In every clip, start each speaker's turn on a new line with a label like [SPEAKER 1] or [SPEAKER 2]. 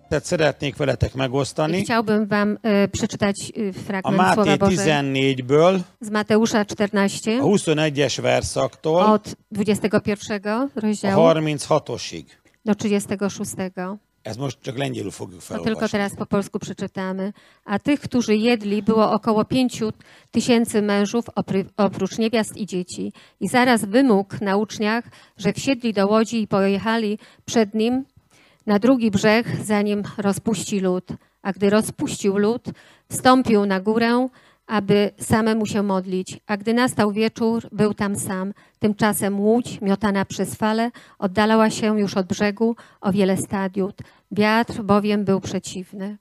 [SPEAKER 1] történetet szeretnék veletek
[SPEAKER 2] I
[SPEAKER 1] megosztani.
[SPEAKER 2] chciałbym wam e, przeczytać e,
[SPEAKER 1] A
[SPEAKER 2] fragment
[SPEAKER 1] Máté
[SPEAKER 2] Słowa Bożego
[SPEAKER 1] 14-ből,
[SPEAKER 2] z Mateusza
[SPEAKER 1] a
[SPEAKER 2] 14
[SPEAKER 1] 21-es verszaktól
[SPEAKER 2] od 21
[SPEAKER 1] a
[SPEAKER 2] rozdziału
[SPEAKER 1] 36-osig.
[SPEAKER 2] do 36.
[SPEAKER 1] Ez most csak lengyelül fogjuk
[SPEAKER 2] No tylko
[SPEAKER 1] felolvasni.
[SPEAKER 2] teraz po polsku przeczytamy. A tych, którzy jedli, było około pięciu tysięcy mężów, opry- oprócz niewiast i dzieci. I zaraz wymógł na uczniach, że wsiedli do łodzi i pojechali przed nim na drugi brzeg, zanim rozpuści lód. A gdy rozpuścił lód, wstąpił na górę, aby samemu się modlić. A gdy nastał wieczór, był tam sam. Tymczasem łódź, miotana przez fale, oddalała się już od brzegu o wiele stadiut. Wiatr bowiem był przeciwny.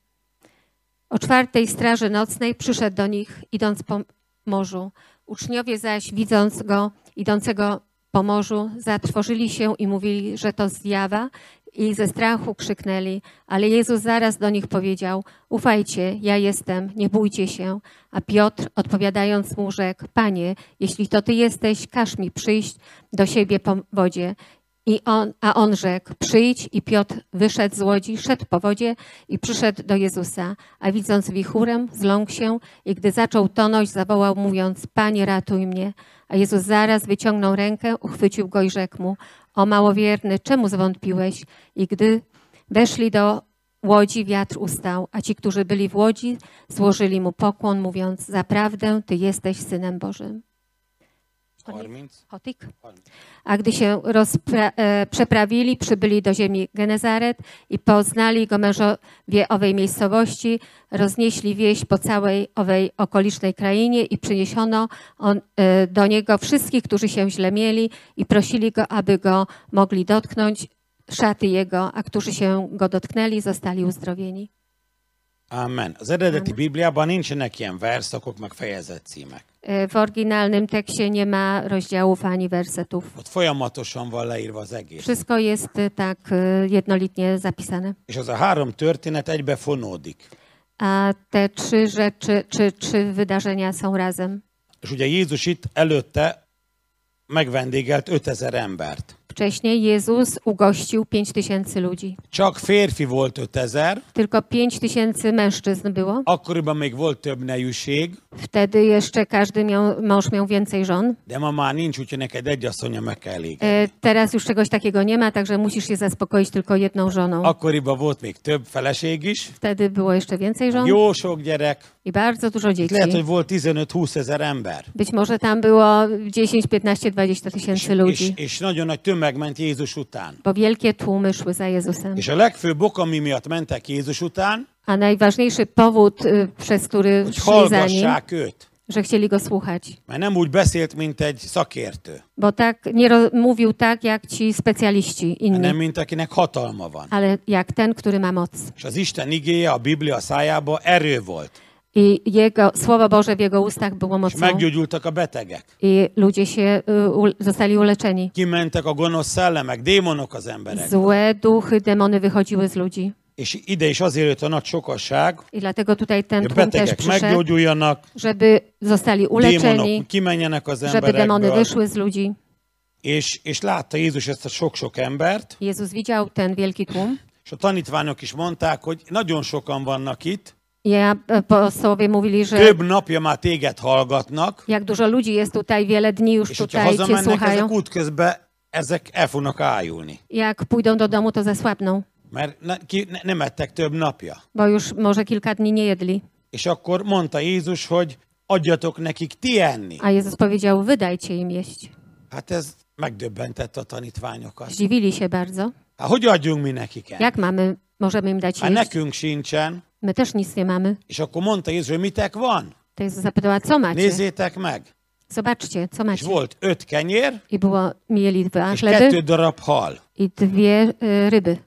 [SPEAKER 2] O czwartej straży nocnej przyszedł do nich, idąc po morzu. Uczniowie zaś, widząc go idącego po morzu, zatrwożyli się i mówili, że to zjawa, i ze strachu krzyknęli. Ale Jezus zaraz do nich powiedział: Ufajcie, ja jestem, nie bójcie się. A Piotr, odpowiadając mu, rzekł: Panie, jeśli to ty jesteś, każ mi przyjść do siebie po wodzie. I on, a on rzekł, przyjdź i Piotr wyszedł z łodzi, szedł po wodzie i przyszedł do Jezusa, a widząc wichurem, zląkł się i gdy zaczął tonąć, zawołał mówiąc, Panie ratuj mnie. A Jezus zaraz wyciągnął rękę, uchwycił go i rzekł mu, o małowierny, czemu zwątpiłeś? I gdy weszli do łodzi, wiatr ustał, a ci, którzy byli w łodzi, złożyli mu pokłon, mówiąc, zaprawdę Ty jesteś Synem Bożym.
[SPEAKER 1] 30.
[SPEAKER 2] Chotik? A gdy się rozpra- e, przeprawili, przybyli do ziemi Genezaret i poznali go mężowie owej miejscowości, roznieśli wieś po całej owej okolicznej krainie i przyniesiono on, e, do niego wszystkich, którzy się źle mieli i prosili go, aby go mogli dotknąć szaty jego, a którzy się go dotknęli, zostali uzdrowieni.
[SPEAKER 1] Amen. Az eredeti Bibliában nincsenek ilyen verszakok, meg fejezett címek.
[SPEAKER 2] E, W oryginalnym tekście nie ma rozdziałów ani wersetów.
[SPEAKER 1] Ott folyamatosan van leírva az egész.
[SPEAKER 2] Wszystko jest e, tak e, jednolitnie zapisane.
[SPEAKER 1] És az a három történet egybefonódik.
[SPEAKER 2] A te trzy rzeczy, czy trzy wydarzenia są razem.
[SPEAKER 1] És ugye Jézus itt előtte megvendégelt 5000 embert.
[SPEAKER 2] Wcześniej Jezus ugościł pięć tysięcy ludzi.
[SPEAKER 1] Csak férfi volt 5000,
[SPEAKER 2] Tylko pięć tysięcy mężczyzn było.
[SPEAKER 1] akkoriban még volt több nejűség,
[SPEAKER 2] Wtedy jeszcze każdy miał, mąż miał więcej żon.
[SPEAKER 1] de ma már nincs, úgyhogy neked egy asszonya meg kell égetni.
[SPEAKER 2] E, teraz już czegoś takiego nie ma, także musisz się zaspokoić tylko jedną żoną.
[SPEAKER 1] Akkoriban volt még több feleség is,
[SPEAKER 2] Wtedy było jeszcze więcej żon
[SPEAKER 1] jó sok gyerek,
[SPEAKER 2] i bardzo dużo dzieci.
[SPEAKER 1] lehet, hogy volt 15-20 ezer ember.
[SPEAKER 2] Być może tam było 10, 15, 20 tysięcy
[SPEAKER 1] És,
[SPEAKER 2] ludzi,
[SPEAKER 1] és nagyon nagy tömeg ment Jézus után.
[SPEAKER 2] bo wielkie tłumy szły za Jezusem.
[SPEAKER 1] És a legfőbb ok, ami miatt mentek Jézus után,
[SPEAKER 2] A najważniejszy powód, y, przez który
[SPEAKER 1] hogy
[SPEAKER 2] szli za nim,
[SPEAKER 1] hallgassák őt.
[SPEAKER 2] że chcieli go słuchać.
[SPEAKER 1] Mert nem úgy beszélt, mint egy szakértő,
[SPEAKER 2] Bo tak nie ro- mówił tak jak ci specjaliści inni,
[SPEAKER 1] hanem mint akinek hatalma van.
[SPEAKER 2] ale jak ten, który ma moc.
[SPEAKER 1] És az Isten igéje a Biblia szájába erő volt.
[SPEAKER 2] I jego słowo Boże w jego ustach było
[SPEAKER 1] És
[SPEAKER 2] mocą.
[SPEAKER 1] meggyógyultak a betegek.
[SPEAKER 2] I ludzie się y, u, zostali uleczeni.
[SPEAKER 1] Kimentek a gonosz szellemek, démonok az emberek.
[SPEAKER 2] Złe duchy, demony wychodziły z ludzi.
[SPEAKER 1] És ide is azért jött a nagy sokasság,
[SPEAKER 2] I dlatego tutaj ten
[SPEAKER 1] hogy a
[SPEAKER 2] tłum też
[SPEAKER 1] betegek
[SPEAKER 2] przyszedł,
[SPEAKER 1] meggyógyuljanak,
[SPEAKER 2] żeby zostali uleczeni,
[SPEAKER 1] démonok kimenjenek az
[SPEAKER 2] żeby demony
[SPEAKER 1] emberekből.
[SPEAKER 2] wyszły z ludzi.
[SPEAKER 1] És, és látta Jézus ezt a sok-sok embert,
[SPEAKER 2] Jezus widział ten wielki tłum.
[SPEAKER 1] és a tanítványok is mondták, hogy nagyon sokan vannak itt,
[SPEAKER 2] Ja, apostołowie mówili, że
[SPEAKER 1] több napja már téged hallgatnak,
[SPEAKER 2] jak dużo ludzi jest tutaj, wiele dni już
[SPEAKER 1] és hogyha
[SPEAKER 2] tutaj cię
[SPEAKER 1] hazamennek,
[SPEAKER 2] słuchają.
[SPEAKER 1] ezek útközben ezek el fognak ájulni.
[SPEAKER 2] Jak pójdą do domu, to zasłabną.
[SPEAKER 1] Mert ne, ki, ne, nem ettek több napja.
[SPEAKER 2] bo już może kilka dni nie jedli.
[SPEAKER 1] És akkor mondta Jézus, hogy adjatok nekik ti enni.
[SPEAKER 2] A Jezus powiedział: Wydajcie im jeść.
[SPEAKER 1] Hát ez megdöbbentette a tanítványokat.
[SPEAKER 2] Zdziwili się bardzo.
[SPEAKER 1] Hát hogy adjunk mi nekik enni?
[SPEAKER 2] Jak mamy, możemy im dać
[SPEAKER 1] Hát
[SPEAKER 2] jeść?
[SPEAKER 1] nekünk sincsen.
[SPEAKER 2] My też nic nie mamy.
[SPEAKER 1] És akkor mondta Jézus, hogy mitek van?
[SPEAKER 2] To Jezus zapytała: Co macie?
[SPEAKER 1] Nézzétek meg.
[SPEAKER 2] Zobaczcie, co
[SPEAKER 1] És
[SPEAKER 2] macie.
[SPEAKER 1] volt öt kenyér,
[SPEAKER 2] I było, mieli dwa
[SPEAKER 1] és kettő
[SPEAKER 2] chleby
[SPEAKER 1] darab hal.
[SPEAKER 2] i dwie y, ryby.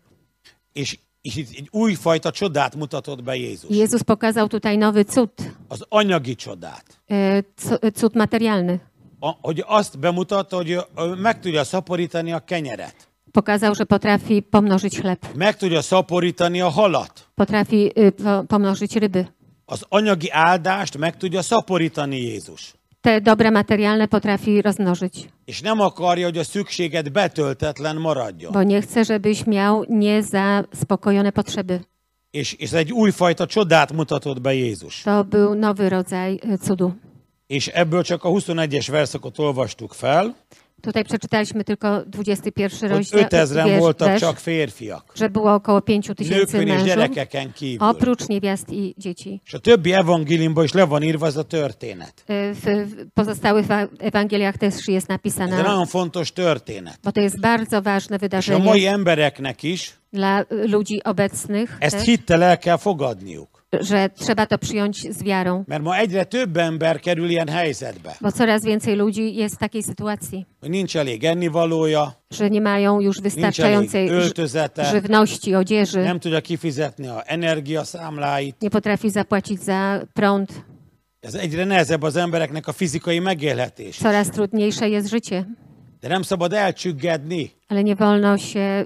[SPEAKER 1] És, és itt egy újfajta csodát mutatott be Jézus.
[SPEAKER 2] Jezus pokazał tutaj nowy cud,
[SPEAKER 1] Az anyagi csodát.
[SPEAKER 2] y, cu- y, cud materialny.
[SPEAKER 1] A, hogy azt bemutatta, hogy ő- ő meg tudja szaporítani a kenyeret.
[SPEAKER 2] Pokazał, że potrafi pomnożyć chleb,
[SPEAKER 1] Meg tudja szaporítani a halat.
[SPEAKER 2] potrafi y, po- pomnożyć ryby.
[SPEAKER 1] Az anyagi áldást meg tudja szaporítani Jézus.
[SPEAKER 2] Te dobra materialne potrafi rozmnożyć.
[SPEAKER 1] És nem akarja, hogy a szükséged betöltetlen maradjon.
[SPEAKER 2] bo nie chcę, żebyś miał niezaspokojone potrzeby.
[SPEAKER 1] És, és ez egy újfajta csodát mutatott be Jézus.
[SPEAKER 2] To był nowy rodzaj e, cudu.
[SPEAKER 1] És ebből csak a 21-es verszakot olvastuk fel,
[SPEAKER 2] Tutaj przeczytaliśmy tylko 21
[SPEAKER 1] hogy
[SPEAKER 2] rozdział,
[SPEAKER 1] 5000
[SPEAKER 2] wiersz-
[SPEAKER 1] voltak
[SPEAKER 2] wers,
[SPEAKER 1] csak férfiak,
[SPEAKER 2] że było około 5 tysięcy
[SPEAKER 1] nőkön és
[SPEAKER 2] mężów,
[SPEAKER 1] gyerekeken kívül.
[SPEAKER 2] oprócz niewiast i dzieci.
[SPEAKER 1] És a többi evangéliumban is le van írva ez a történet.
[SPEAKER 2] E, W, w pozostałych wa- Ewangeliach też jest
[SPEAKER 1] Ez egy
[SPEAKER 2] napisane,
[SPEAKER 1] nagyon fontos történet.
[SPEAKER 2] bo to jest bardzo ważne
[SPEAKER 1] És a
[SPEAKER 2] wydarzenie
[SPEAKER 1] mai embereknek is
[SPEAKER 2] dla e, ludzi obecnych,
[SPEAKER 1] ezt
[SPEAKER 2] też,
[SPEAKER 1] hittel el kell fogadniuk.
[SPEAKER 2] że trzeba to przyjąć z wiarą,
[SPEAKER 1] Mert ma egyre több ember kerül ilyen helyzetbe,
[SPEAKER 2] bo coraz więcej ludzi jest w takiej sytuacji,
[SPEAKER 1] hogy nincs elég ennivalója,
[SPEAKER 2] że nie mają już
[SPEAKER 1] nincs elég
[SPEAKER 2] wystarczającej ży-
[SPEAKER 1] öltözete,
[SPEAKER 2] żywności, odzieży,
[SPEAKER 1] nem tudja kifizetni a energiaszámláit.
[SPEAKER 2] nie potrafi zapłacić za prąd,
[SPEAKER 1] Ez egyre nehezebb az embereknek a fizikai megélhetés.
[SPEAKER 2] coraz trudniejsze jest życie.
[SPEAKER 1] De nem szabad elcsüggedni,
[SPEAKER 2] Ale nie wolno się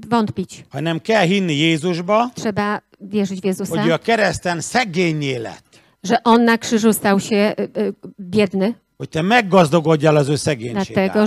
[SPEAKER 2] y, wątpić.
[SPEAKER 1] hanem kell hinni Jézusba,
[SPEAKER 2] Trzeba wierzyć w Jezusa,
[SPEAKER 1] hogy ő a kereszten szegényé lett,
[SPEAKER 2] że On na krzyżu stał się y, y, biedny,
[SPEAKER 1] hogy te meggazdagodjál az ő
[SPEAKER 2] dlatego,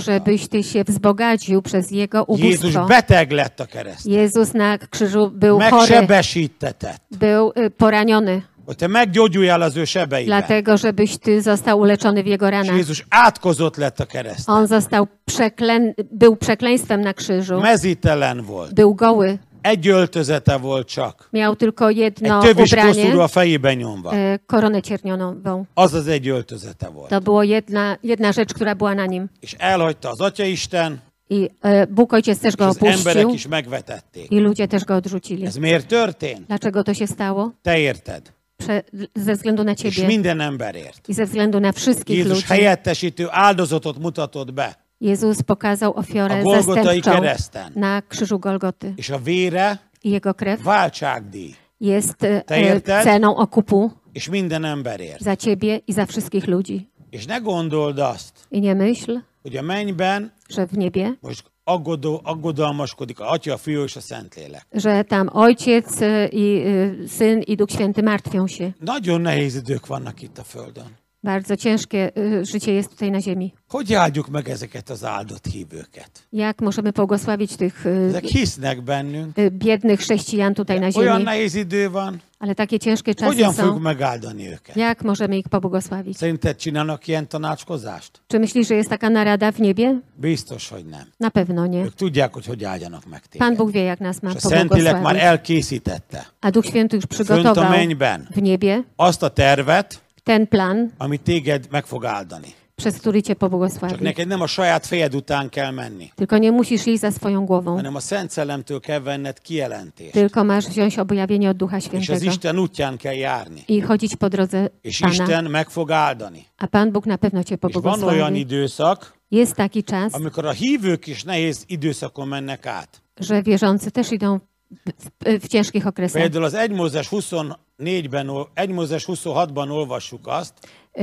[SPEAKER 1] szegénységével.
[SPEAKER 2] żebyś ty się wzbogacił przez Jego
[SPEAKER 1] Jézus
[SPEAKER 2] ubóstwo.
[SPEAKER 1] beteg lett a kereszten,
[SPEAKER 2] Jezus na krzyżu był chory,
[SPEAKER 1] megsebesítetett,
[SPEAKER 2] był y, poraniony,
[SPEAKER 1] hogy te meggyógyuljál az ő sebeivel.
[SPEAKER 2] dlatego, żebyś ty został uleczony w Jego
[SPEAKER 1] És
[SPEAKER 2] ranach.
[SPEAKER 1] Jézus átkozott lett a kereszten,
[SPEAKER 2] On został przeklę... był przekleństwem na krzyżu,
[SPEAKER 1] mezítelen volt,
[SPEAKER 2] był goły,
[SPEAKER 1] egy öltözete volt csak,
[SPEAKER 2] miał tylko
[SPEAKER 1] egy
[SPEAKER 2] jedno
[SPEAKER 1] tövis koszorú
[SPEAKER 2] ubranie,
[SPEAKER 1] a fejében nyomva.
[SPEAKER 2] y, koronę ciernionową.
[SPEAKER 1] Az az egy öltözete volt.
[SPEAKER 2] To była jedna, jedna rzecz, która była na nim.
[SPEAKER 1] És elhagyta az Atyaisten,
[SPEAKER 2] I e, Bóg Ojciec też
[SPEAKER 1] és
[SPEAKER 2] go
[SPEAKER 1] az emberek
[SPEAKER 2] opuścił
[SPEAKER 1] is megvetették.
[SPEAKER 2] i ludzie też go odrzucili.
[SPEAKER 1] Ez miért történt?
[SPEAKER 2] Dlaczego to się stało?
[SPEAKER 1] Te érted.
[SPEAKER 2] Prze ze względu na
[SPEAKER 1] És
[SPEAKER 2] Ciebie
[SPEAKER 1] minden emberért.
[SPEAKER 2] i ze względu na wszystkich
[SPEAKER 1] Jézus
[SPEAKER 2] ludzi.
[SPEAKER 1] helyettesítő áldozatot mutatott be,
[SPEAKER 2] Jezus pokazał
[SPEAKER 1] A
[SPEAKER 2] ofiarę
[SPEAKER 1] Golgotai
[SPEAKER 2] zastępczą
[SPEAKER 1] kereszten.
[SPEAKER 2] na krzyżu Golgoty.
[SPEAKER 1] és a vére
[SPEAKER 2] I Jego krew
[SPEAKER 1] váltságdíj,
[SPEAKER 2] jest e,
[SPEAKER 1] Te érted?
[SPEAKER 2] ceną okupu
[SPEAKER 1] és minden emberért.
[SPEAKER 2] za Ciebie i za wszystkich ludzi.
[SPEAKER 1] És ne gondold azt,
[SPEAKER 2] I nie myśl,
[SPEAKER 1] hogy a mennyben
[SPEAKER 2] że w niebie,
[SPEAKER 1] most aggodó, aggodalmaskodik a Atya, a Fiú és a Szentlélek.
[SPEAKER 2] że tam Ojciec e, i e, Syn i Duch Święty martwią się.
[SPEAKER 1] Nagyon nehéz idők vannak itt a Földön.
[SPEAKER 2] Bardzo ciężkie e, życie jest tutaj na ziemi.
[SPEAKER 1] Hogy áldjuk meg ezeket az áldott hívőket?
[SPEAKER 2] Jak możemy błogosławić tych e,
[SPEAKER 1] Ezek hisznek bennünk.
[SPEAKER 2] y, biednych chrześcijan tutaj na
[SPEAKER 1] Olyan
[SPEAKER 2] ziemi,
[SPEAKER 1] nehéz idő van,
[SPEAKER 2] ale takie ciężkie czasy
[SPEAKER 1] hogyan fogjuk
[SPEAKER 2] są.
[SPEAKER 1] megáldani őket?
[SPEAKER 2] Jak możemy ich pobłogosławić?
[SPEAKER 1] Szerinted csinálnak ilyen tanácskozást?
[SPEAKER 2] Czy myślisz, że jest taka narada w niebie?
[SPEAKER 1] Biztos, hogy nem.
[SPEAKER 2] Na pewno nie.
[SPEAKER 1] Ők tudják, hogy hogy áldjanak meg
[SPEAKER 2] Pan
[SPEAKER 1] téged.
[SPEAKER 2] Bóg wie, jak nas ma
[SPEAKER 1] És a Szentlélek már
[SPEAKER 2] pobłogosławić.
[SPEAKER 1] elkészítette
[SPEAKER 2] A Duch Święty już
[SPEAKER 1] fönt a
[SPEAKER 2] przygotował
[SPEAKER 1] mennyben
[SPEAKER 2] w niebie
[SPEAKER 1] azt a tervet,
[SPEAKER 2] ten plan,
[SPEAKER 1] amit téged meg fog áldani.
[SPEAKER 2] przez który cię
[SPEAKER 1] Csak
[SPEAKER 2] pobłogosławi.
[SPEAKER 1] neked nem a saját fejed után kell menni,
[SPEAKER 2] Tylko nie musisz iść za swoją głową,
[SPEAKER 1] hanem a Szent Szellemtől kell venned kijelentést.
[SPEAKER 2] tylko masz wziąć objawienie od Ducha
[SPEAKER 1] És az
[SPEAKER 2] Świętego
[SPEAKER 1] Isten útján kell járni.
[SPEAKER 2] i chodzić po drodze
[SPEAKER 1] És
[SPEAKER 2] Pana.
[SPEAKER 1] Isten meg fog áldani.
[SPEAKER 2] A Pan Bóg na pewno cię
[SPEAKER 1] És van olyan
[SPEAKER 2] pobłogosławi.
[SPEAKER 1] időszak,
[SPEAKER 2] Jest taki czas,
[SPEAKER 1] amikor a hívők is nehéz időszakon mennek át.
[SPEAKER 2] że wierzący też idą w, w, w ciężkich okresach.
[SPEAKER 1] Például az 1 Mózes 24-ben, ol- 1 Mózes 26-ban olvassuk azt,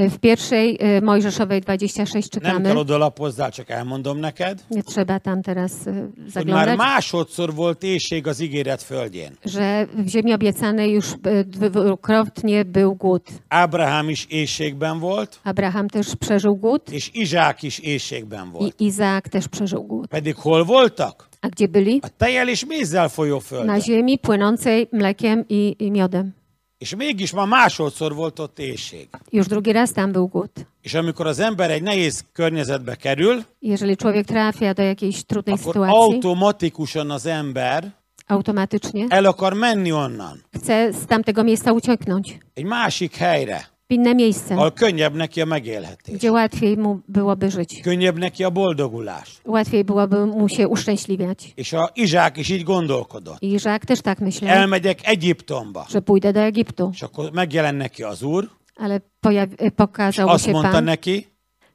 [SPEAKER 2] W pierwszej y, Mojżeszowej 26
[SPEAKER 1] nem kell
[SPEAKER 2] czytamy.
[SPEAKER 1] odalapozzál, csak elmondom neked,
[SPEAKER 2] Nie trzeba tam teraz y,
[SPEAKER 1] hogy már
[SPEAKER 2] zaglądać.
[SPEAKER 1] másodszor volt éjség az ígéret földjén.
[SPEAKER 2] Że w ziemi obiecanej już y, dwukrotnie był głód.
[SPEAKER 1] Ábrahám is éjségben volt,
[SPEAKER 2] Abraham też przeżył głód
[SPEAKER 1] és Izsák is éjségben
[SPEAKER 2] i
[SPEAKER 1] volt.
[SPEAKER 2] Izaak też przeżył głód.
[SPEAKER 1] Pedig hol voltak?
[SPEAKER 2] A gdzie byli?
[SPEAKER 1] A tejjel és mézzel folyó
[SPEAKER 2] Na
[SPEAKER 1] földön.
[SPEAKER 2] ziemi płynącej mlekiem i, i miodem.
[SPEAKER 1] És mégis már másodszor volt ott éjség.
[SPEAKER 2] Już drugi raz tam był głód.
[SPEAKER 1] És amikor az ember egy nehéz környezetbe kerül,
[SPEAKER 2] Jeżeli człowiek trafia do jakiejś trudnej
[SPEAKER 1] akkor
[SPEAKER 2] sytuacji,
[SPEAKER 1] automatikusan az ember
[SPEAKER 2] automatycznie
[SPEAKER 1] el akar menni onnan,
[SPEAKER 2] chce z tamtego miejsca ucieknąć
[SPEAKER 1] egy másik helyre,
[SPEAKER 2] w inne miejsce,
[SPEAKER 1] ahol könnyebb neki a megélhetés,
[SPEAKER 2] gdzie łatwiej mu byłoby żyć.
[SPEAKER 1] könnyebb neki a boldogulás.
[SPEAKER 2] Łatwiej byłoby mu się uszczęśliwiać.
[SPEAKER 1] És a Izsák is így gondolkodott.
[SPEAKER 2] I Izaak też tak myślał,
[SPEAKER 1] Elmegyek Egyiptomba,
[SPEAKER 2] że pójdę do Egiptu.
[SPEAKER 1] és akkor megjelen neki az úr,
[SPEAKER 2] Ale pojaw- e, pokazał mu
[SPEAKER 1] azt
[SPEAKER 2] się
[SPEAKER 1] mondta
[SPEAKER 2] Pan,
[SPEAKER 1] neki,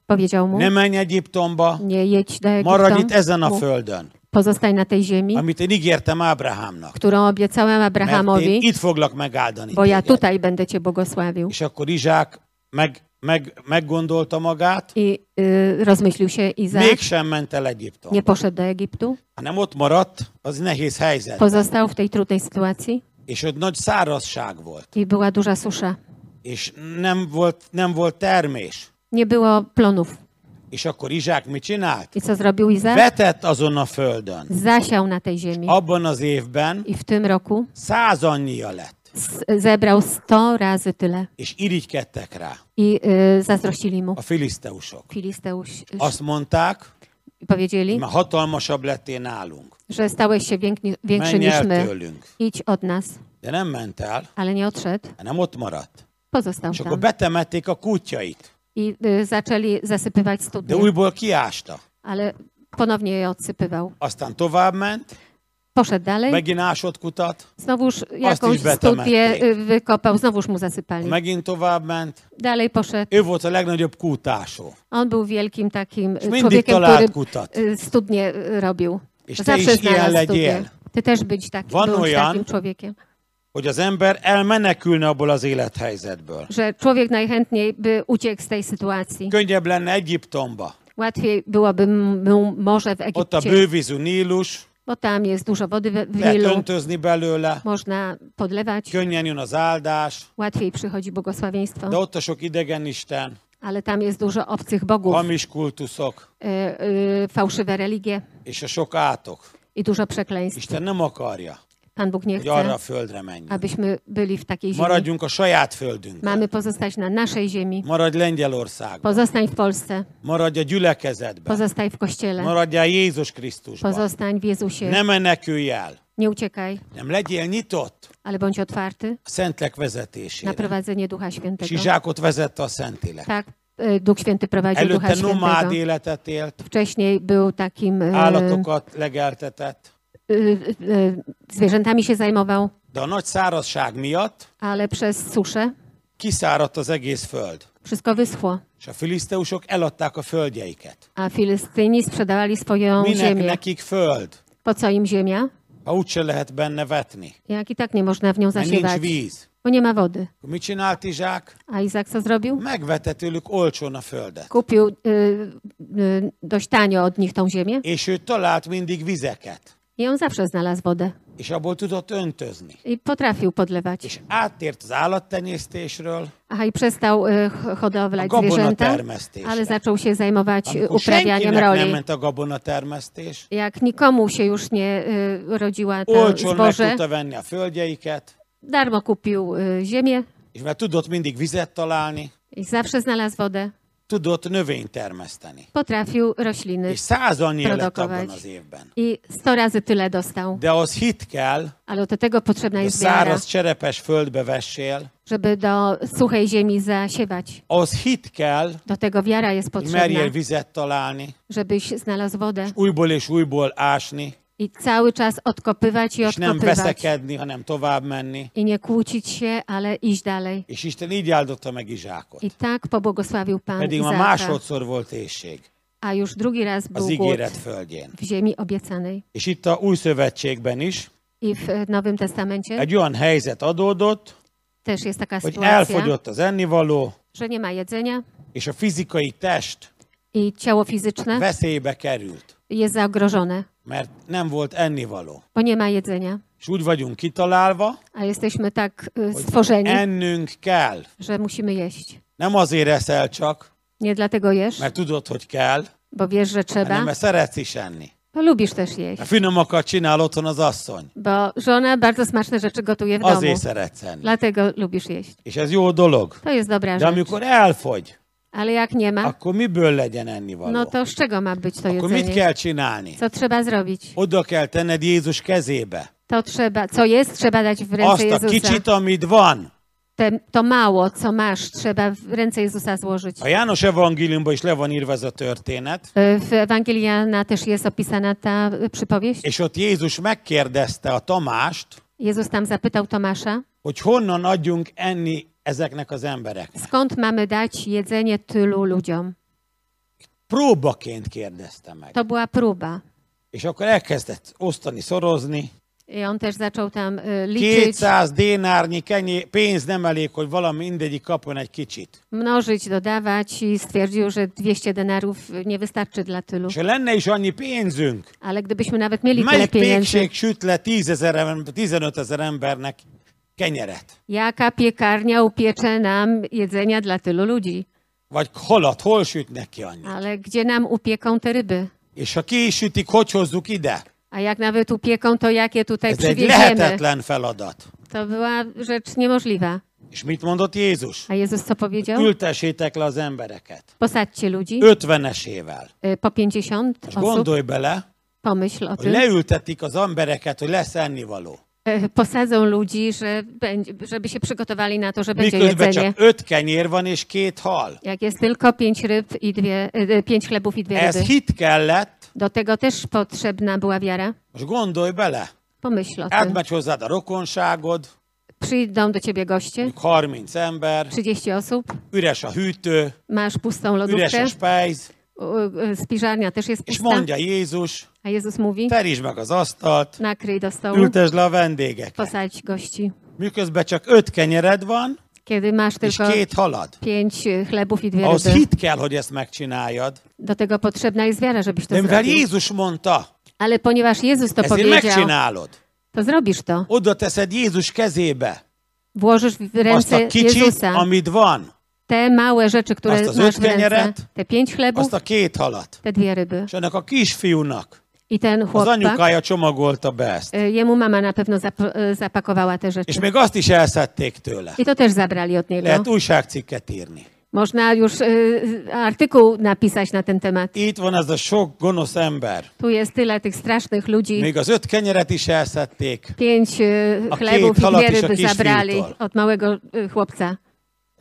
[SPEAKER 2] powiedział mu,
[SPEAKER 1] ne menj Egyiptomba,
[SPEAKER 2] nie jedź do
[SPEAKER 1] maradj itt ezen
[SPEAKER 2] Egiptu,
[SPEAKER 1] a
[SPEAKER 2] mu-
[SPEAKER 1] földön,
[SPEAKER 2] pozostań na tej ziemi,
[SPEAKER 1] amit én ígértem Ábrahámnak,
[SPEAKER 2] którą obiecałem
[SPEAKER 1] mert én
[SPEAKER 2] Abrahamowi,
[SPEAKER 1] itt foglak megáldani
[SPEAKER 2] bo ja
[SPEAKER 1] téged.
[SPEAKER 2] tutaj będę Cię błogosławił.
[SPEAKER 1] És akkor Izsák meg, meg, meggondolta magát,
[SPEAKER 2] I y, rozmyślił się Izaak,
[SPEAKER 1] mégsem ment el Egyiptomba.
[SPEAKER 2] nie poszedł do Egiptu,
[SPEAKER 1] hanem ott maradt, az nehéz helyzet.
[SPEAKER 2] pozostał w tej trudnej sytuacji
[SPEAKER 1] És ott nagy szárazság volt,
[SPEAKER 2] i była duża susza.
[SPEAKER 1] és nem volt, nem volt termés.
[SPEAKER 2] Nie było plonów.
[SPEAKER 1] És akkor Izsák mit csinált?
[SPEAKER 2] I co zrobił Izak?
[SPEAKER 1] Vetett azon a földön.
[SPEAKER 2] Zasiał na tej ziemi.
[SPEAKER 1] Abban az évben
[SPEAKER 2] I w tym roku
[SPEAKER 1] száz annyia lett,
[SPEAKER 2] s- zebrał 100 razy tyle.
[SPEAKER 1] és irigykedtek rá
[SPEAKER 2] I y, zazdrościli mu
[SPEAKER 1] a filiszteusok.
[SPEAKER 2] Filisteusz. y,
[SPEAKER 1] Azt mondták,
[SPEAKER 2] I Powiedzieli,
[SPEAKER 1] már hatalmasabb lettél nálunk.
[SPEAKER 2] że stałeś się więkni- większy
[SPEAKER 1] Menj
[SPEAKER 2] niż
[SPEAKER 1] el
[SPEAKER 2] my.
[SPEAKER 1] tőlünk.
[SPEAKER 2] Idź od nas.
[SPEAKER 1] De nem ment el,
[SPEAKER 2] Ale nie odszedł,
[SPEAKER 1] hanem Hát ott maradt.
[SPEAKER 2] pozostał
[SPEAKER 1] És akkor
[SPEAKER 2] tam.
[SPEAKER 1] betemették a kutyait,
[SPEAKER 2] I y, zaczęli zasypywać
[SPEAKER 1] de
[SPEAKER 2] studnie.
[SPEAKER 1] újból kiásta.
[SPEAKER 2] Ale ponownie je odsypywał.
[SPEAKER 1] Aztán tovább ment,
[SPEAKER 2] Poszedł dalej,
[SPEAKER 1] megint ásott kutat,
[SPEAKER 2] znowuż jakąś
[SPEAKER 1] betemették.
[SPEAKER 2] studię y, wykopał, znowuż mu zasypali.
[SPEAKER 1] megint tovább ment.
[SPEAKER 2] Dalej poszedł.
[SPEAKER 1] Ő volt a legnagyobb kútásó.
[SPEAKER 2] On był wielkim takim y,
[SPEAKER 1] mindig
[SPEAKER 2] człowiekiem,
[SPEAKER 1] talált
[SPEAKER 2] który
[SPEAKER 1] kutat.
[SPEAKER 2] y, studnie y, robił.
[SPEAKER 1] És te
[SPEAKER 2] Zawsze
[SPEAKER 1] is ilyen
[SPEAKER 2] znalazł
[SPEAKER 1] legyél.
[SPEAKER 2] studnie. Ty też być taki,
[SPEAKER 1] Van
[SPEAKER 2] bądź
[SPEAKER 1] olyan-
[SPEAKER 2] takim człowiekiem.
[SPEAKER 1] Hogy az ember elmenekülne abból az élethelyzetből.
[SPEAKER 2] Że człowiek najchętniej by uciekł z tej sytuacji.
[SPEAKER 1] Könnyebb lenne Egyiptomba.
[SPEAKER 2] Łatwiej byłoby mu morze w
[SPEAKER 1] Ott a
[SPEAKER 2] Egipcie,
[SPEAKER 1] bővízű Nílus,
[SPEAKER 2] bo tam jest dużo wody we- w
[SPEAKER 1] lehet
[SPEAKER 2] Nilu.
[SPEAKER 1] öntözni belőle,
[SPEAKER 2] Można podlewać,
[SPEAKER 1] könnyen jön az áldás,
[SPEAKER 2] łatwiej przychodzi błogosławieństwo,
[SPEAKER 1] de ott a sok idegenisten,
[SPEAKER 2] ale tam jest dużo obcych bogów,
[SPEAKER 1] hamis kultuszok
[SPEAKER 2] y, y, fałszywe religie
[SPEAKER 1] és a sok átok.
[SPEAKER 2] i dużo przekleństw.
[SPEAKER 1] Isten nem akarja,
[SPEAKER 2] Pan Bóg nie
[SPEAKER 1] hogy arra
[SPEAKER 2] chce,
[SPEAKER 1] a földre menjünk.
[SPEAKER 2] abyśmy byli w takiej ziemi.
[SPEAKER 1] Maradjunk a saját földünkön.
[SPEAKER 2] Mamy pozostać na naszej ziemi.
[SPEAKER 1] Maradj Lengyelországban.
[SPEAKER 2] Pozostań w Polsce,
[SPEAKER 1] Maradj a gyülekezetben.
[SPEAKER 2] pozostań w Kościele,
[SPEAKER 1] Maradjál Jézus Krisztusban.
[SPEAKER 2] pozostań w Jezusie.
[SPEAKER 1] Ne menekülj el.
[SPEAKER 2] Nie uciekaj,
[SPEAKER 1] Nem legyél nyitott
[SPEAKER 2] ale bądź otwarty
[SPEAKER 1] a Szentlek
[SPEAKER 2] na
[SPEAKER 1] vezetésére.
[SPEAKER 2] prowadzenie Ducha
[SPEAKER 1] És
[SPEAKER 2] Świętego.
[SPEAKER 1] Izsákot vezette a Szentlélek.
[SPEAKER 2] Tak, y, Duch Święty prowadził Ducha
[SPEAKER 1] Előtte nomád
[SPEAKER 2] Świętego.
[SPEAKER 1] életet élt,
[SPEAKER 2] Wcześniej był takim y,
[SPEAKER 1] állatokat legeltetett,
[SPEAKER 2] y, y, zwierzętami się zajmował,
[SPEAKER 1] de a nagy szárazság miatt
[SPEAKER 2] ale przez suszę
[SPEAKER 1] kiszáradt az egész föld.
[SPEAKER 2] wszystko wyschło,
[SPEAKER 1] És a filiszteusok eladták a földjeiket.
[SPEAKER 2] a Filistyni sprzedawali swoją
[SPEAKER 1] Minek
[SPEAKER 2] ziemię.
[SPEAKER 1] nekik föld,
[SPEAKER 2] Po co im ziemia?
[SPEAKER 1] ha úgyse lehet benne vetni,
[SPEAKER 2] Jak i tak nie można w nią
[SPEAKER 1] mert nincs
[SPEAKER 2] zasiewać,
[SPEAKER 1] víz.
[SPEAKER 2] bo nie ma wody.
[SPEAKER 1] Akkor Mit csinált Izsák?
[SPEAKER 2] A Izak co zrobił?
[SPEAKER 1] Megvette tőlük olcsón a földet.
[SPEAKER 2] Kupił y, y, dość tanio od nich tą ziemię
[SPEAKER 1] És ő talált mindig vizeket,
[SPEAKER 2] i on zawsze znalazł wodę.
[SPEAKER 1] és abból tudott öntözni.
[SPEAKER 2] I potrafił podlewać.
[SPEAKER 1] És áttért az állattenyésztésről,
[SPEAKER 2] Aha, i przestał y, h-
[SPEAKER 1] A
[SPEAKER 2] hodowlać
[SPEAKER 1] gabona
[SPEAKER 2] zwierzęta,
[SPEAKER 1] termesztésre.
[SPEAKER 2] ale zaczął się zajmować y,
[SPEAKER 1] amikor senkinek
[SPEAKER 2] uprawianiem
[SPEAKER 1] nem
[SPEAKER 2] roli.
[SPEAKER 1] ment a gabonatermesztés,
[SPEAKER 2] Jak nikomu się już nie y, rodziła to
[SPEAKER 1] olcsón meg
[SPEAKER 2] zboże,
[SPEAKER 1] tudta venni a földjeiket,
[SPEAKER 2] darmo kupił y, ziemię
[SPEAKER 1] és mert tudott mindig vizet találni,
[SPEAKER 2] i zawsze znalazł wodę.
[SPEAKER 1] tudott növényt termeszteni.
[SPEAKER 2] potrafił rośliny
[SPEAKER 1] És száz annyi lett abban
[SPEAKER 2] Produkować.
[SPEAKER 1] az évben.
[SPEAKER 2] i sto razy tyle dostał.
[SPEAKER 1] De az hit kell,
[SPEAKER 2] Ale do tego potrzebna
[SPEAKER 1] hogy
[SPEAKER 2] jest wiara,
[SPEAKER 1] száraz cserepes földbe vessél,
[SPEAKER 2] żeby do suchej ziemi zasiewać.
[SPEAKER 1] az hit kell,
[SPEAKER 2] Do tego wiara jest
[SPEAKER 1] hogy
[SPEAKER 2] potrzebna,
[SPEAKER 1] merjél vizet találni,
[SPEAKER 2] żebyś znalazł wodę
[SPEAKER 1] újból és újból ásni,
[SPEAKER 2] i cały czas odkopywać i
[SPEAKER 1] és nem
[SPEAKER 2] odkopywać.
[SPEAKER 1] veszekedni, hanem tovább menni.
[SPEAKER 2] I nie kłócić się, ale iść dalej.
[SPEAKER 1] És Isten így áldotta meg Izsákot.
[SPEAKER 2] I tak pobłogosławił Pan
[SPEAKER 1] Pedig ma
[SPEAKER 2] Izaka,
[SPEAKER 1] másodszor volt éjség
[SPEAKER 2] a już drugi raz był
[SPEAKER 1] az
[SPEAKER 2] głód
[SPEAKER 1] ígéret földjén.
[SPEAKER 2] w ziemi obiecanej.
[SPEAKER 1] És itt a új szövetségben is
[SPEAKER 2] I w e, Nowym Testamencie
[SPEAKER 1] egy olyan helyzet adódott,
[SPEAKER 2] też jest taka
[SPEAKER 1] hogy
[SPEAKER 2] sytuacja,
[SPEAKER 1] elfogyott az ennivaló,
[SPEAKER 2] że nie ma jedzenia
[SPEAKER 1] és a fizikai test
[SPEAKER 2] i ciało fizyczne
[SPEAKER 1] veszélybe került,
[SPEAKER 2] jest zagrożone.
[SPEAKER 1] mert nem volt ennivaló.
[SPEAKER 2] bo nie ma jedzenia.
[SPEAKER 1] És úgy vagyunk kitalálva,
[SPEAKER 2] A jesteśmy tak y, stworzeni,
[SPEAKER 1] ennünk kell.
[SPEAKER 2] że musimy jeść.
[SPEAKER 1] Nem azért eszel csak,
[SPEAKER 2] Nie dlatego jesz,
[SPEAKER 1] mert tudod, hogy kell,
[SPEAKER 2] bo wiesz, że trzeba,
[SPEAKER 1] hanem mert szeretsz is enni.
[SPEAKER 2] bo lubisz też jeść.
[SPEAKER 1] A finomakat csinál otthon az asszony.
[SPEAKER 2] Bo żona bardzo smaczne rzeczy gotuje w domu,
[SPEAKER 1] Azért szeretsz enni.
[SPEAKER 2] dlatego lubisz jeść.
[SPEAKER 1] És ez jó dolog.
[SPEAKER 2] To jest dobra
[SPEAKER 1] De
[SPEAKER 2] rzecz.
[SPEAKER 1] amikor elfogy,
[SPEAKER 2] Ale jak nie ma,
[SPEAKER 1] akkor miből legyen
[SPEAKER 2] no
[SPEAKER 1] ennivaló?
[SPEAKER 2] to z czego ma być to
[SPEAKER 1] Akkor mit
[SPEAKER 2] jedzenie?
[SPEAKER 1] kell csinálni?
[SPEAKER 2] Co trzeba zrobić?
[SPEAKER 1] Oda kell tenned Jézus kezébe.
[SPEAKER 2] To trzeba, co jest, trzeba dać w ręce
[SPEAKER 1] Azt a
[SPEAKER 2] Jezusa.
[SPEAKER 1] kicsit, amit van.
[SPEAKER 2] Te, to mało, co masz, trzeba w ręce Jezusa złożyć.
[SPEAKER 1] A János evangéliumban is le van írva ez a történet,
[SPEAKER 2] Y, W Ewangelii Jana też jest opisana ta y, przypowieść.
[SPEAKER 1] és ott Jézus megkérdezte a Tamást,
[SPEAKER 2] Jezus tam zapytał Tomasza,
[SPEAKER 1] hogy honnan adjunk enni ezeknek az embereknek.
[SPEAKER 2] Skąd mamy dać jedzenie tylu ludziom?
[SPEAKER 1] Próbaként kérdezte meg.
[SPEAKER 2] To była próba.
[SPEAKER 1] És akkor elkezdett osztani, szorozni.
[SPEAKER 2] I on też zaczął tam y, liczyć,
[SPEAKER 1] 200 dénárnyi kenyé, pénz nem elég, hogy valami mindegyik kapjon egy kicsit.
[SPEAKER 2] mnożyć, dodawać i stwierdził, że 200 denarów nie wystarczy dla tylu.
[SPEAKER 1] És ha lenne is annyi pénzünk,
[SPEAKER 2] Ale gdybyśmy nawet mieli tyle
[SPEAKER 1] melyik
[SPEAKER 2] pieniędzy,
[SPEAKER 1] pékség süt le 10 ezer, em- 15 ezer embernek kenyeret?
[SPEAKER 2] jaka piekarnia upiecze nam jedzenia dla tylu ludzi?
[SPEAKER 1] Vagy halat hol sütnek ki annyit?
[SPEAKER 2] ale gdzie nam upieką te ryby?
[SPEAKER 1] És ha ki is sütik, hogy hozzuk ide?
[SPEAKER 2] A jak nawet upieką, to jakie tutaj
[SPEAKER 1] Ez egy
[SPEAKER 2] przywieziemy?
[SPEAKER 1] lehetetlen feladat.
[SPEAKER 2] To była rzecz niemożliwa.
[SPEAKER 1] És mit mondott Jézus?
[SPEAKER 2] A Jezus co powiedział?
[SPEAKER 1] Ültessétek le az embereket.
[SPEAKER 2] Posadźcie ludzi
[SPEAKER 1] Ötvenesével.
[SPEAKER 2] y, po 50
[SPEAKER 1] És
[SPEAKER 2] osób.
[SPEAKER 1] gondolj bele,
[SPEAKER 2] Pomyśl o
[SPEAKER 1] hogy
[SPEAKER 2] tym.
[SPEAKER 1] leültetik az embereket, hogy lesz ennivaló.
[SPEAKER 2] Y, Posadzą ludzi, że będzie, żeby się przygotowali na to, że będzie
[SPEAKER 1] Miközben
[SPEAKER 2] jedzenie.
[SPEAKER 1] csak öt kenyér van és két hal.
[SPEAKER 2] Jak jest tylko pięć ryb i dwie, y, y, pięć chlebów i dwie
[SPEAKER 1] Ez
[SPEAKER 2] ryby.
[SPEAKER 1] hit kellett,
[SPEAKER 2] Do tego też potrzebna była wiara.
[SPEAKER 1] most gondolj bele.
[SPEAKER 2] Pomyśl o tym.
[SPEAKER 1] Átmegy hozzád a rokonságod,
[SPEAKER 2] Przyjdą do ciebie goście,
[SPEAKER 1] mondjuk 30 ember,
[SPEAKER 2] 30 osób,
[SPEAKER 1] üres a hűtő,
[SPEAKER 2] masz pustą
[SPEAKER 1] üres
[SPEAKER 2] lodówkę,
[SPEAKER 1] a spejz,
[SPEAKER 2] u- u- spiżarnia też jest
[SPEAKER 1] és
[SPEAKER 2] pusta,
[SPEAKER 1] mondja Jézus,
[SPEAKER 2] a Jezus mówi,
[SPEAKER 1] terítsd meg az asztalt,
[SPEAKER 2] nakryj do stołu,
[SPEAKER 1] ültesd le a vendégeket.
[SPEAKER 2] posadź gości.
[SPEAKER 1] Miközben csak öt kenyered van,
[SPEAKER 2] Kiedy masz
[SPEAKER 1] és
[SPEAKER 2] tylko
[SPEAKER 1] két halad.
[SPEAKER 2] pięć y, chlebów i dwie
[SPEAKER 1] Ahhoz
[SPEAKER 2] ryby,
[SPEAKER 1] hit kell, hogy ezt megcsináljad.
[SPEAKER 2] do tego potrzebna jest wiara, żebyś to
[SPEAKER 1] De mivel
[SPEAKER 2] zrobił.
[SPEAKER 1] Jézus mondta,
[SPEAKER 2] Ale ponieważ Jezus to
[SPEAKER 1] ezért
[SPEAKER 2] powiedział,
[SPEAKER 1] megcsinálod.
[SPEAKER 2] to zrobisz to.
[SPEAKER 1] Oda teszed Jézus kezébe
[SPEAKER 2] Włożysz w
[SPEAKER 1] azt a
[SPEAKER 2] ręce
[SPEAKER 1] kicsit,
[SPEAKER 2] Jezusa
[SPEAKER 1] amit van,
[SPEAKER 2] te małe rzeczy,
[SPEAKER 1] Azt
[SPEAKER 2] które
[SPEAKER 1] az
[SPEAKER 2] masz
[SPEAKER 1] öt
[SPEAKER 2] w ręce,
[SPEAKER 1] kenyeret,
[SPEAKER 2] te pięć chlebów,
[SPEAKER 1] azt a két halat.
[SPEAKER 2] te dwie ryby.
[SPEAKER 1] És ennek a kisfiúnak
[SPEAKER 2] I ten
[SPEAKER 1] az
[SPEAKER 2] chłopak,
[SPEAKER 1] anyukája csomagolta be ezt.
[SPEAKER 2] y, jemu mama na pewno zap- y, zapakowała te
[SPEAKER 1] És
[SPEAKER 2] rzeczy.
[SPEAKER 1] még azt is elszedték tőle.
[SPEAKER 2] I to też zabrali od niego.
[SPEAKER 1] Lehet újságcikket írni.
[SPEAKER 2] Można już y, artykuł napisać na ten temat.
[SPEAKER 1] Itt van ez a sok gonosz ember.
[SPEAKER 2] Tu jest tyle tych strasznych ludzi.
[SPEAKER 1] Még az öt kenyeret is elszedték,
[SPEAKER 2] Pięć y,
[SPEAKER 1] A
[SPEAKER 2] chlebów
[SPEAKER 1] két
[SPEAKER 2] i dwie
[SPEAKER 1] halak is a
[SPEAKER 2] ryby
[SPEAKER 1] kis
[SPEAKER 2] zabrali
[SPEAKER 1] fiútól.
[SPEAKER 2] od małego y, chłopca.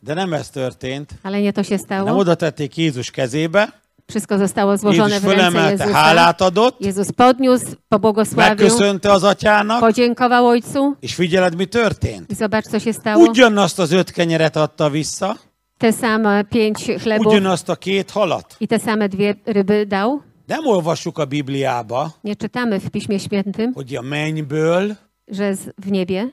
[SPEAKER 1] de nem ez történt,
[SPEAKER 2] Ale nie to się
[SPEAKER 1] hanem
[SPEAKER 2] stało.
[SPEAKER 1] oda tették Jézus kezébe,
[SPEAKER 2] Wszystko zostało
[SPEAKER 1] Jézus
[SPEAKER 2] złożone w ręce
[SPEAKER 1] fölemelte,
[SPEAKER 2] Jezusa.
[SPEAKER 1] hálát adott,
[SPEAKER 2] Jezus podniósł, pobłogosławił,
[SPEAKER 1] megköszönte az atyának,
[SPEAKER 2] podziękował Ojcu
[SPEAKER 1] és figyeled, mi történt.
[SPEAKER 2] i zobacz, co się stało.
[SPEAKER 1] Ugyanazt az öt kenyeret adta vissza,
[SPEAKER 2] Te same pięć chlebów
[SPEAKER 1] ugyanazt a két halat.
[SPEAKER 2] i te same dwie ryby dał.
[SPEAKER 1] Nem olvassuk a Bibliába,
[SPEAKER 2] Nie czytamy w Piśmie Świętym,
[SPEAKER 1] hogy a mennyből
[SPEAKER 2] że z, w niebie,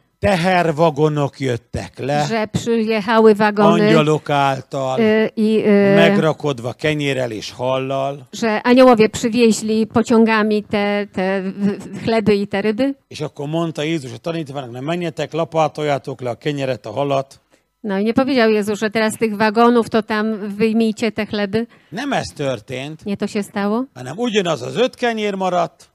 [SPEAKER 1] tehervagonok jöttek le,
[SPEAKER 2] że przyjechały wagony
[SPEAKER 1] angyalok által,
[SPEAKER 2] y, i y,
[SPEAKER 1] megrakodva kenyérrel és hallal,
[SPEAKER 2] że aniołowie przywieźli pociągami te, te w- chleby i te ryby.
[SPEAKER 1] és akkor mondta Jézus a tanítványoknak, ne menjetek, lapátoljátok le a kenyeret, a halat.
[SPEAKER 2] No i nie powiedział Jezus, że teraz z tych wagonów to tam wyjmijcie te chleby.
[SPEAKER 1] Nem ez történt,
[SPEAKER 2] Nie to się stało.
[SPEAKER 1] hanem ugyanaz az öt kenyér maradt,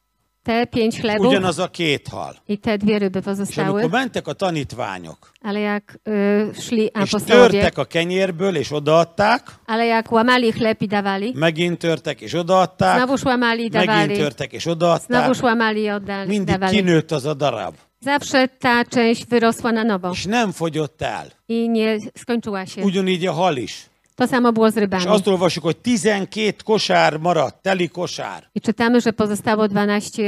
[SPEAKER 2] Te pięć chlebów
[SPEAKER 1] ugyanaz a két hal.
[SPEAKER 2] i te dwie ryby
[SPEAKER 1] És amikor
[SPEAKER 2] pozostały.
[SPEAKER 1] mentek a tanítványok,
[SPEAKER 2] Ale jak y, szli
[SPEAKER 1] és
[SPEAKER 2] apostołowie,
[SPEAKER 1] törtek a kenyérből, és odaadták,
[SPEAKER 2] ale jak łamali chleb i dawali,
[SPEAKER 1] megint törtek, és odaadták,
[SPEAKER 2] znowu łamali i
[SPEAKER 1] megint
[SPEAKER 2] dawali,
[SPEAKER 1] törtek, és
[SPEAKER 2] znowu
[SPEAKER 1] odaadták,
[SPEAKER 2] łamali i oddali,
[SPEAKER 1] mindig
[SPEAKER 2] dawali.
[SPEAKER 1] kinőtt az a darab,
[SPEAKER 2] Zawsze ta część wyrosła na nowo
[SPEAKER 1] és nem fogyott el.
[SPEAKER 2] i nie skończyła się.
[SPEAKER 1] Ugyanígy a hal is.
[SPEAKER 2] To samo było z
[SPEAKER 1] És
[SPEAKER 2] rybami.
[SPEAKER 1] azt olvasjuk, hogy 12 kosár maradt, teli kosár.
[SPEAKER 2] I czytamy, że pozostało 12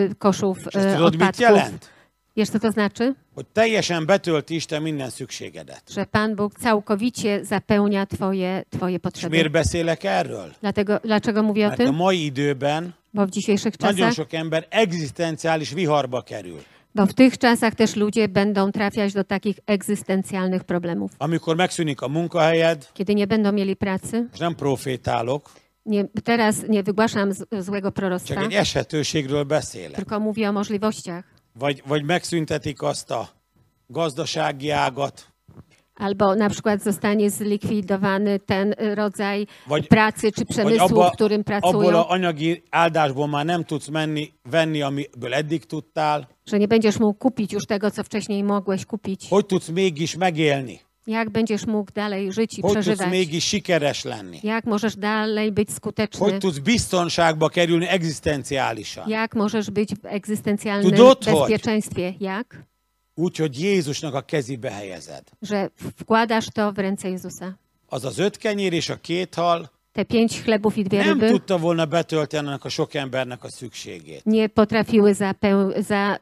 [SPEAKER 2] y, koszów
[SPEAKER 1] És ezt
[SPEAKER 2] y,
[SPEAKER 1] tudod, mit
[SPEAKER 2] odpadków.
[SPEAKER 1] jelent?
[SPEAKER 2] Wiesz, co to znaczy?
[SPEAKER 1] Hogy teljesen betölti Isten minden szükségedet.
[SPEAKER 2] Że Pan Bóg całkowicie zapełnia twoje,
[SPEAKER 1] És
[SPEAKER 2] twoje
[SPEAKER 1] miért
[SPEAKER 2] potrzeby.
[SPEAKER 1] beszélek erről?
[SPEAKER 2] Dlatego, dlaczego mówię o
[SPEAKER 1] Mert a
[SPEAKER 2] tym?
[SPEAKER 1] mai időben
[SPEAKER 2] Bo w dzisiejszych
[SPEAKER 1] nagyon
[SPEAKER 2] czasach,
[SPEAKER 1] sok ember egzisztenciális viharba kerül.
[SPEAKER 2] bo w tych czasach też ludzie będą trafiać do takich egzystencjalnych problemów.
[SPEAKER 1] Amikor megszűnik a munkahelyed,
[SPEAKER 2] Kiedy nie będą mieli pracy,
[SPEAKER 1] és nem profétálok,
[SPEAKER 2] nie, teraz nie wygłaszam z, złego
[SPEAKER 1] csak
[SPEAKER 2] proroctwa,
[SPEAKER 1] egy eshetőségről beszélek.
[SPEAKER 2] tylko mówię o możliwościach.
[SPEAKER 1] Vagy, vagy megszüntetik azt a gazdasági ágat,
[SPEAKER 2] Albo na przykład zostanie zlikwidowany ten y, rodzaj
[SPEAKER 1] Vagy-
[SPEAKER 2] pracy czy
[SPEAKER 1] vagy
[SPEAKER 2] przemysłu,
[SPEAKER 1] abba,
[SPEAKER 2] w którym
[SPEAKER 1] abból
[SPEAKER 2] pracują,
[SPEAKER 1] a anyagi áldásból már nem tudsz menni, venni, amiből eddig tudtál.
[SPEAKER 2] że nie będziesz mógł kupić już tego, co wcześniej mogłeś kupić.
[SPEAKER 1] Hogy tudsz mégis megélni?
[SPEAKER 2] Jak będziesz mógł dalej żyć i
[SPEAKER 1] Hogy tudsz
[SPEAKER 2] przeżywać?
[SPEAKER 1] mégis sikeres lenni?
[SPEAKER 2] Jak możesz dalej być skuteczny?
[SPEAKER 1] Hogy tudsz biztonságba kerülni egzisztenciálisan?
[SPEAKER 2] Jak możesz być w egzystencjalnym
[SPEAKER 1] Tudod, hogy-
[SPEAKER 2] bezpieczeństwie? Jak?
[SPEAKER 1] Úgy, hogy Jézusnak a kezébe helyezed.
[SPEAKER 2] Że wkładasz to w ręce Jezusa.
[SPEAKER 1] Az az öt kenyér és a két hal
[SPEAKER 2] Te pięć chlebów i dwie
[SPEAKER 1] nem
[SPEAKER 2] ryby
[SPEAKER 1] tudta volna betölteni annak a sok embernek a szükségét.
[SPEAKER 2] nie potrafiły zapeł- za-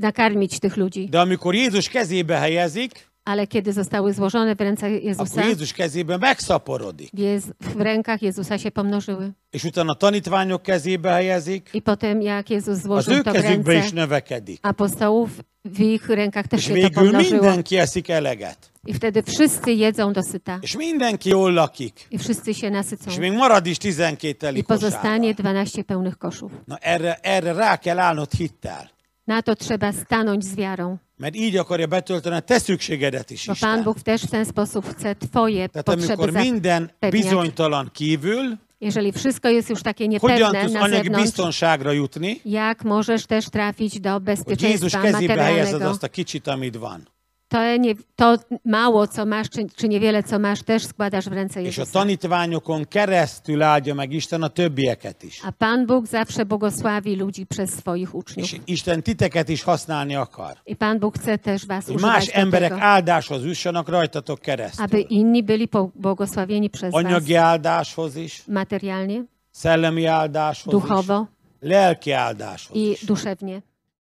[SPEAKER 2] nakarmić tych ludzi.
[SPEAKER 1] De amikor Jézus kezébe helyezik,
[SPEAKER 2] Ale kiedy zostały złożone w ręce Jezusa,
[SPEAKER 1] akkor Jézus kezében megszaporodik.
[SPEAKER 2] Jez- w rękach Jezusa się pomnożyły.
[SPEAKER 1] És utána a tanítványok kezébe helyezik,
[SPEAKER 2] I potem jak Jezus
[SPEAKER 1] az ő
[SPEAKER 2] złożył to w
[SPEAKER 1] kezükbe
[SPEAKER 2] ręce
[SPEAKER 1] is növekedik.
[SPEAKER 2] apostołów, w ich rękach też
[SPEAKER 1] És
[SPEAKER 2] się to
[SPEAKER 1] végül
[SPEAKER 2] pomnożyło.
[SPEAKER 1] mindenki eszik eleget.
[SPEAKER 2] I wtedy wszyscy jedzą dosyta.
[SPEAKER 1] És mindenki jól lakik.
[SPEAKER 2] I wszyscy się nasycą.
[SPEAKER 1] És még marad is 12 teli
[SPEAKER 2] I
[SPEAKER 1] kosárral.
[SPEAKER 2] pozostanie 12 pełnych koszów.
[SPEAKER 1] Na erre, erre rá kell állnod hittel.
[SPEAKER 2] Na to trzeba stanąć z wiarą,
[SPEAKER 1] Mert így akarja betölteni a te szükségedet is,
[SPEAKER 2] bo Pan
[SPEAKER 1] Isten.
[SPEAKER 2] Bóg też w ten sposób chce Twoje
[SPEAKER 1] Tehát
[SPEAKER 2] potrzeby
[SPEAKER 1] amikor minden
[SPEAKER 2] zapewniać.
[SPEAKER 1] bizonytalan kívül,
[SPEAKER 2] Jeżeli wszystko jest już takie
[SPEAKER 1] hogyan
[SPEAKER 2] niepewne
[SPEAKER 1] tudsz
[SPEAKER 2] na
[SPEAKER 1] anyagi
[SPEAKER 2] zewnątrz,
[SPEAKER 1] biztonságra jutni,
[SPEAKER 2] jak możesz też trafić do
[SPEAKER 1] hogy Jézus
[SPEAKER 2] bezpieczeństwa
[SPEAKER 1] kezébe helyezed
[SPEAKER 2] materialnego?
[SPEAKER 1] azt a kicsit, amit van.
[SPEAKER 2] To, nie, to mało, co masz, czy, czy niewiele, co masz, też składasz w ręce
[SPEAKER 1] És a
[SPEAKER 2] Jezusa.
[SPEAKER 1] tanítványokon keresztül áldja meg Isten a többieket is.
[SPEAKER 2] A Pan Bóg zawsze błogosławi ludzi przez swoich uczniów.
[SPEAKER 1] És Isten titeket is használni akar.
[SPEAKER 2] I Pan Bóg chce też was
[SPEAKER 1] Hogy más
[SPEAKER 2] używać do
[SPEAKER 1] emberek
[SPEAKER 2] tego,
[SPEAKER 1] áldáshoz jussanak rajtatok
[SPEAKER 2] aby
[SPEAKER 1] keresztül.
[SPEAKER 2] inni byli po- błogosławieni przez was
[SPEAKER 1] Anyagi áldáshoz is,
[SPEAKER 2] materialnie,
[SPEAKER 1] szellemi áldáshoz is,
[SPEAKER 2] duchowo
[SPEAKER 1] lelki áldáshoz
[SPEAKER 2] i
[SPEAKER 1] is.
[SPEAKER 2] duszewnie.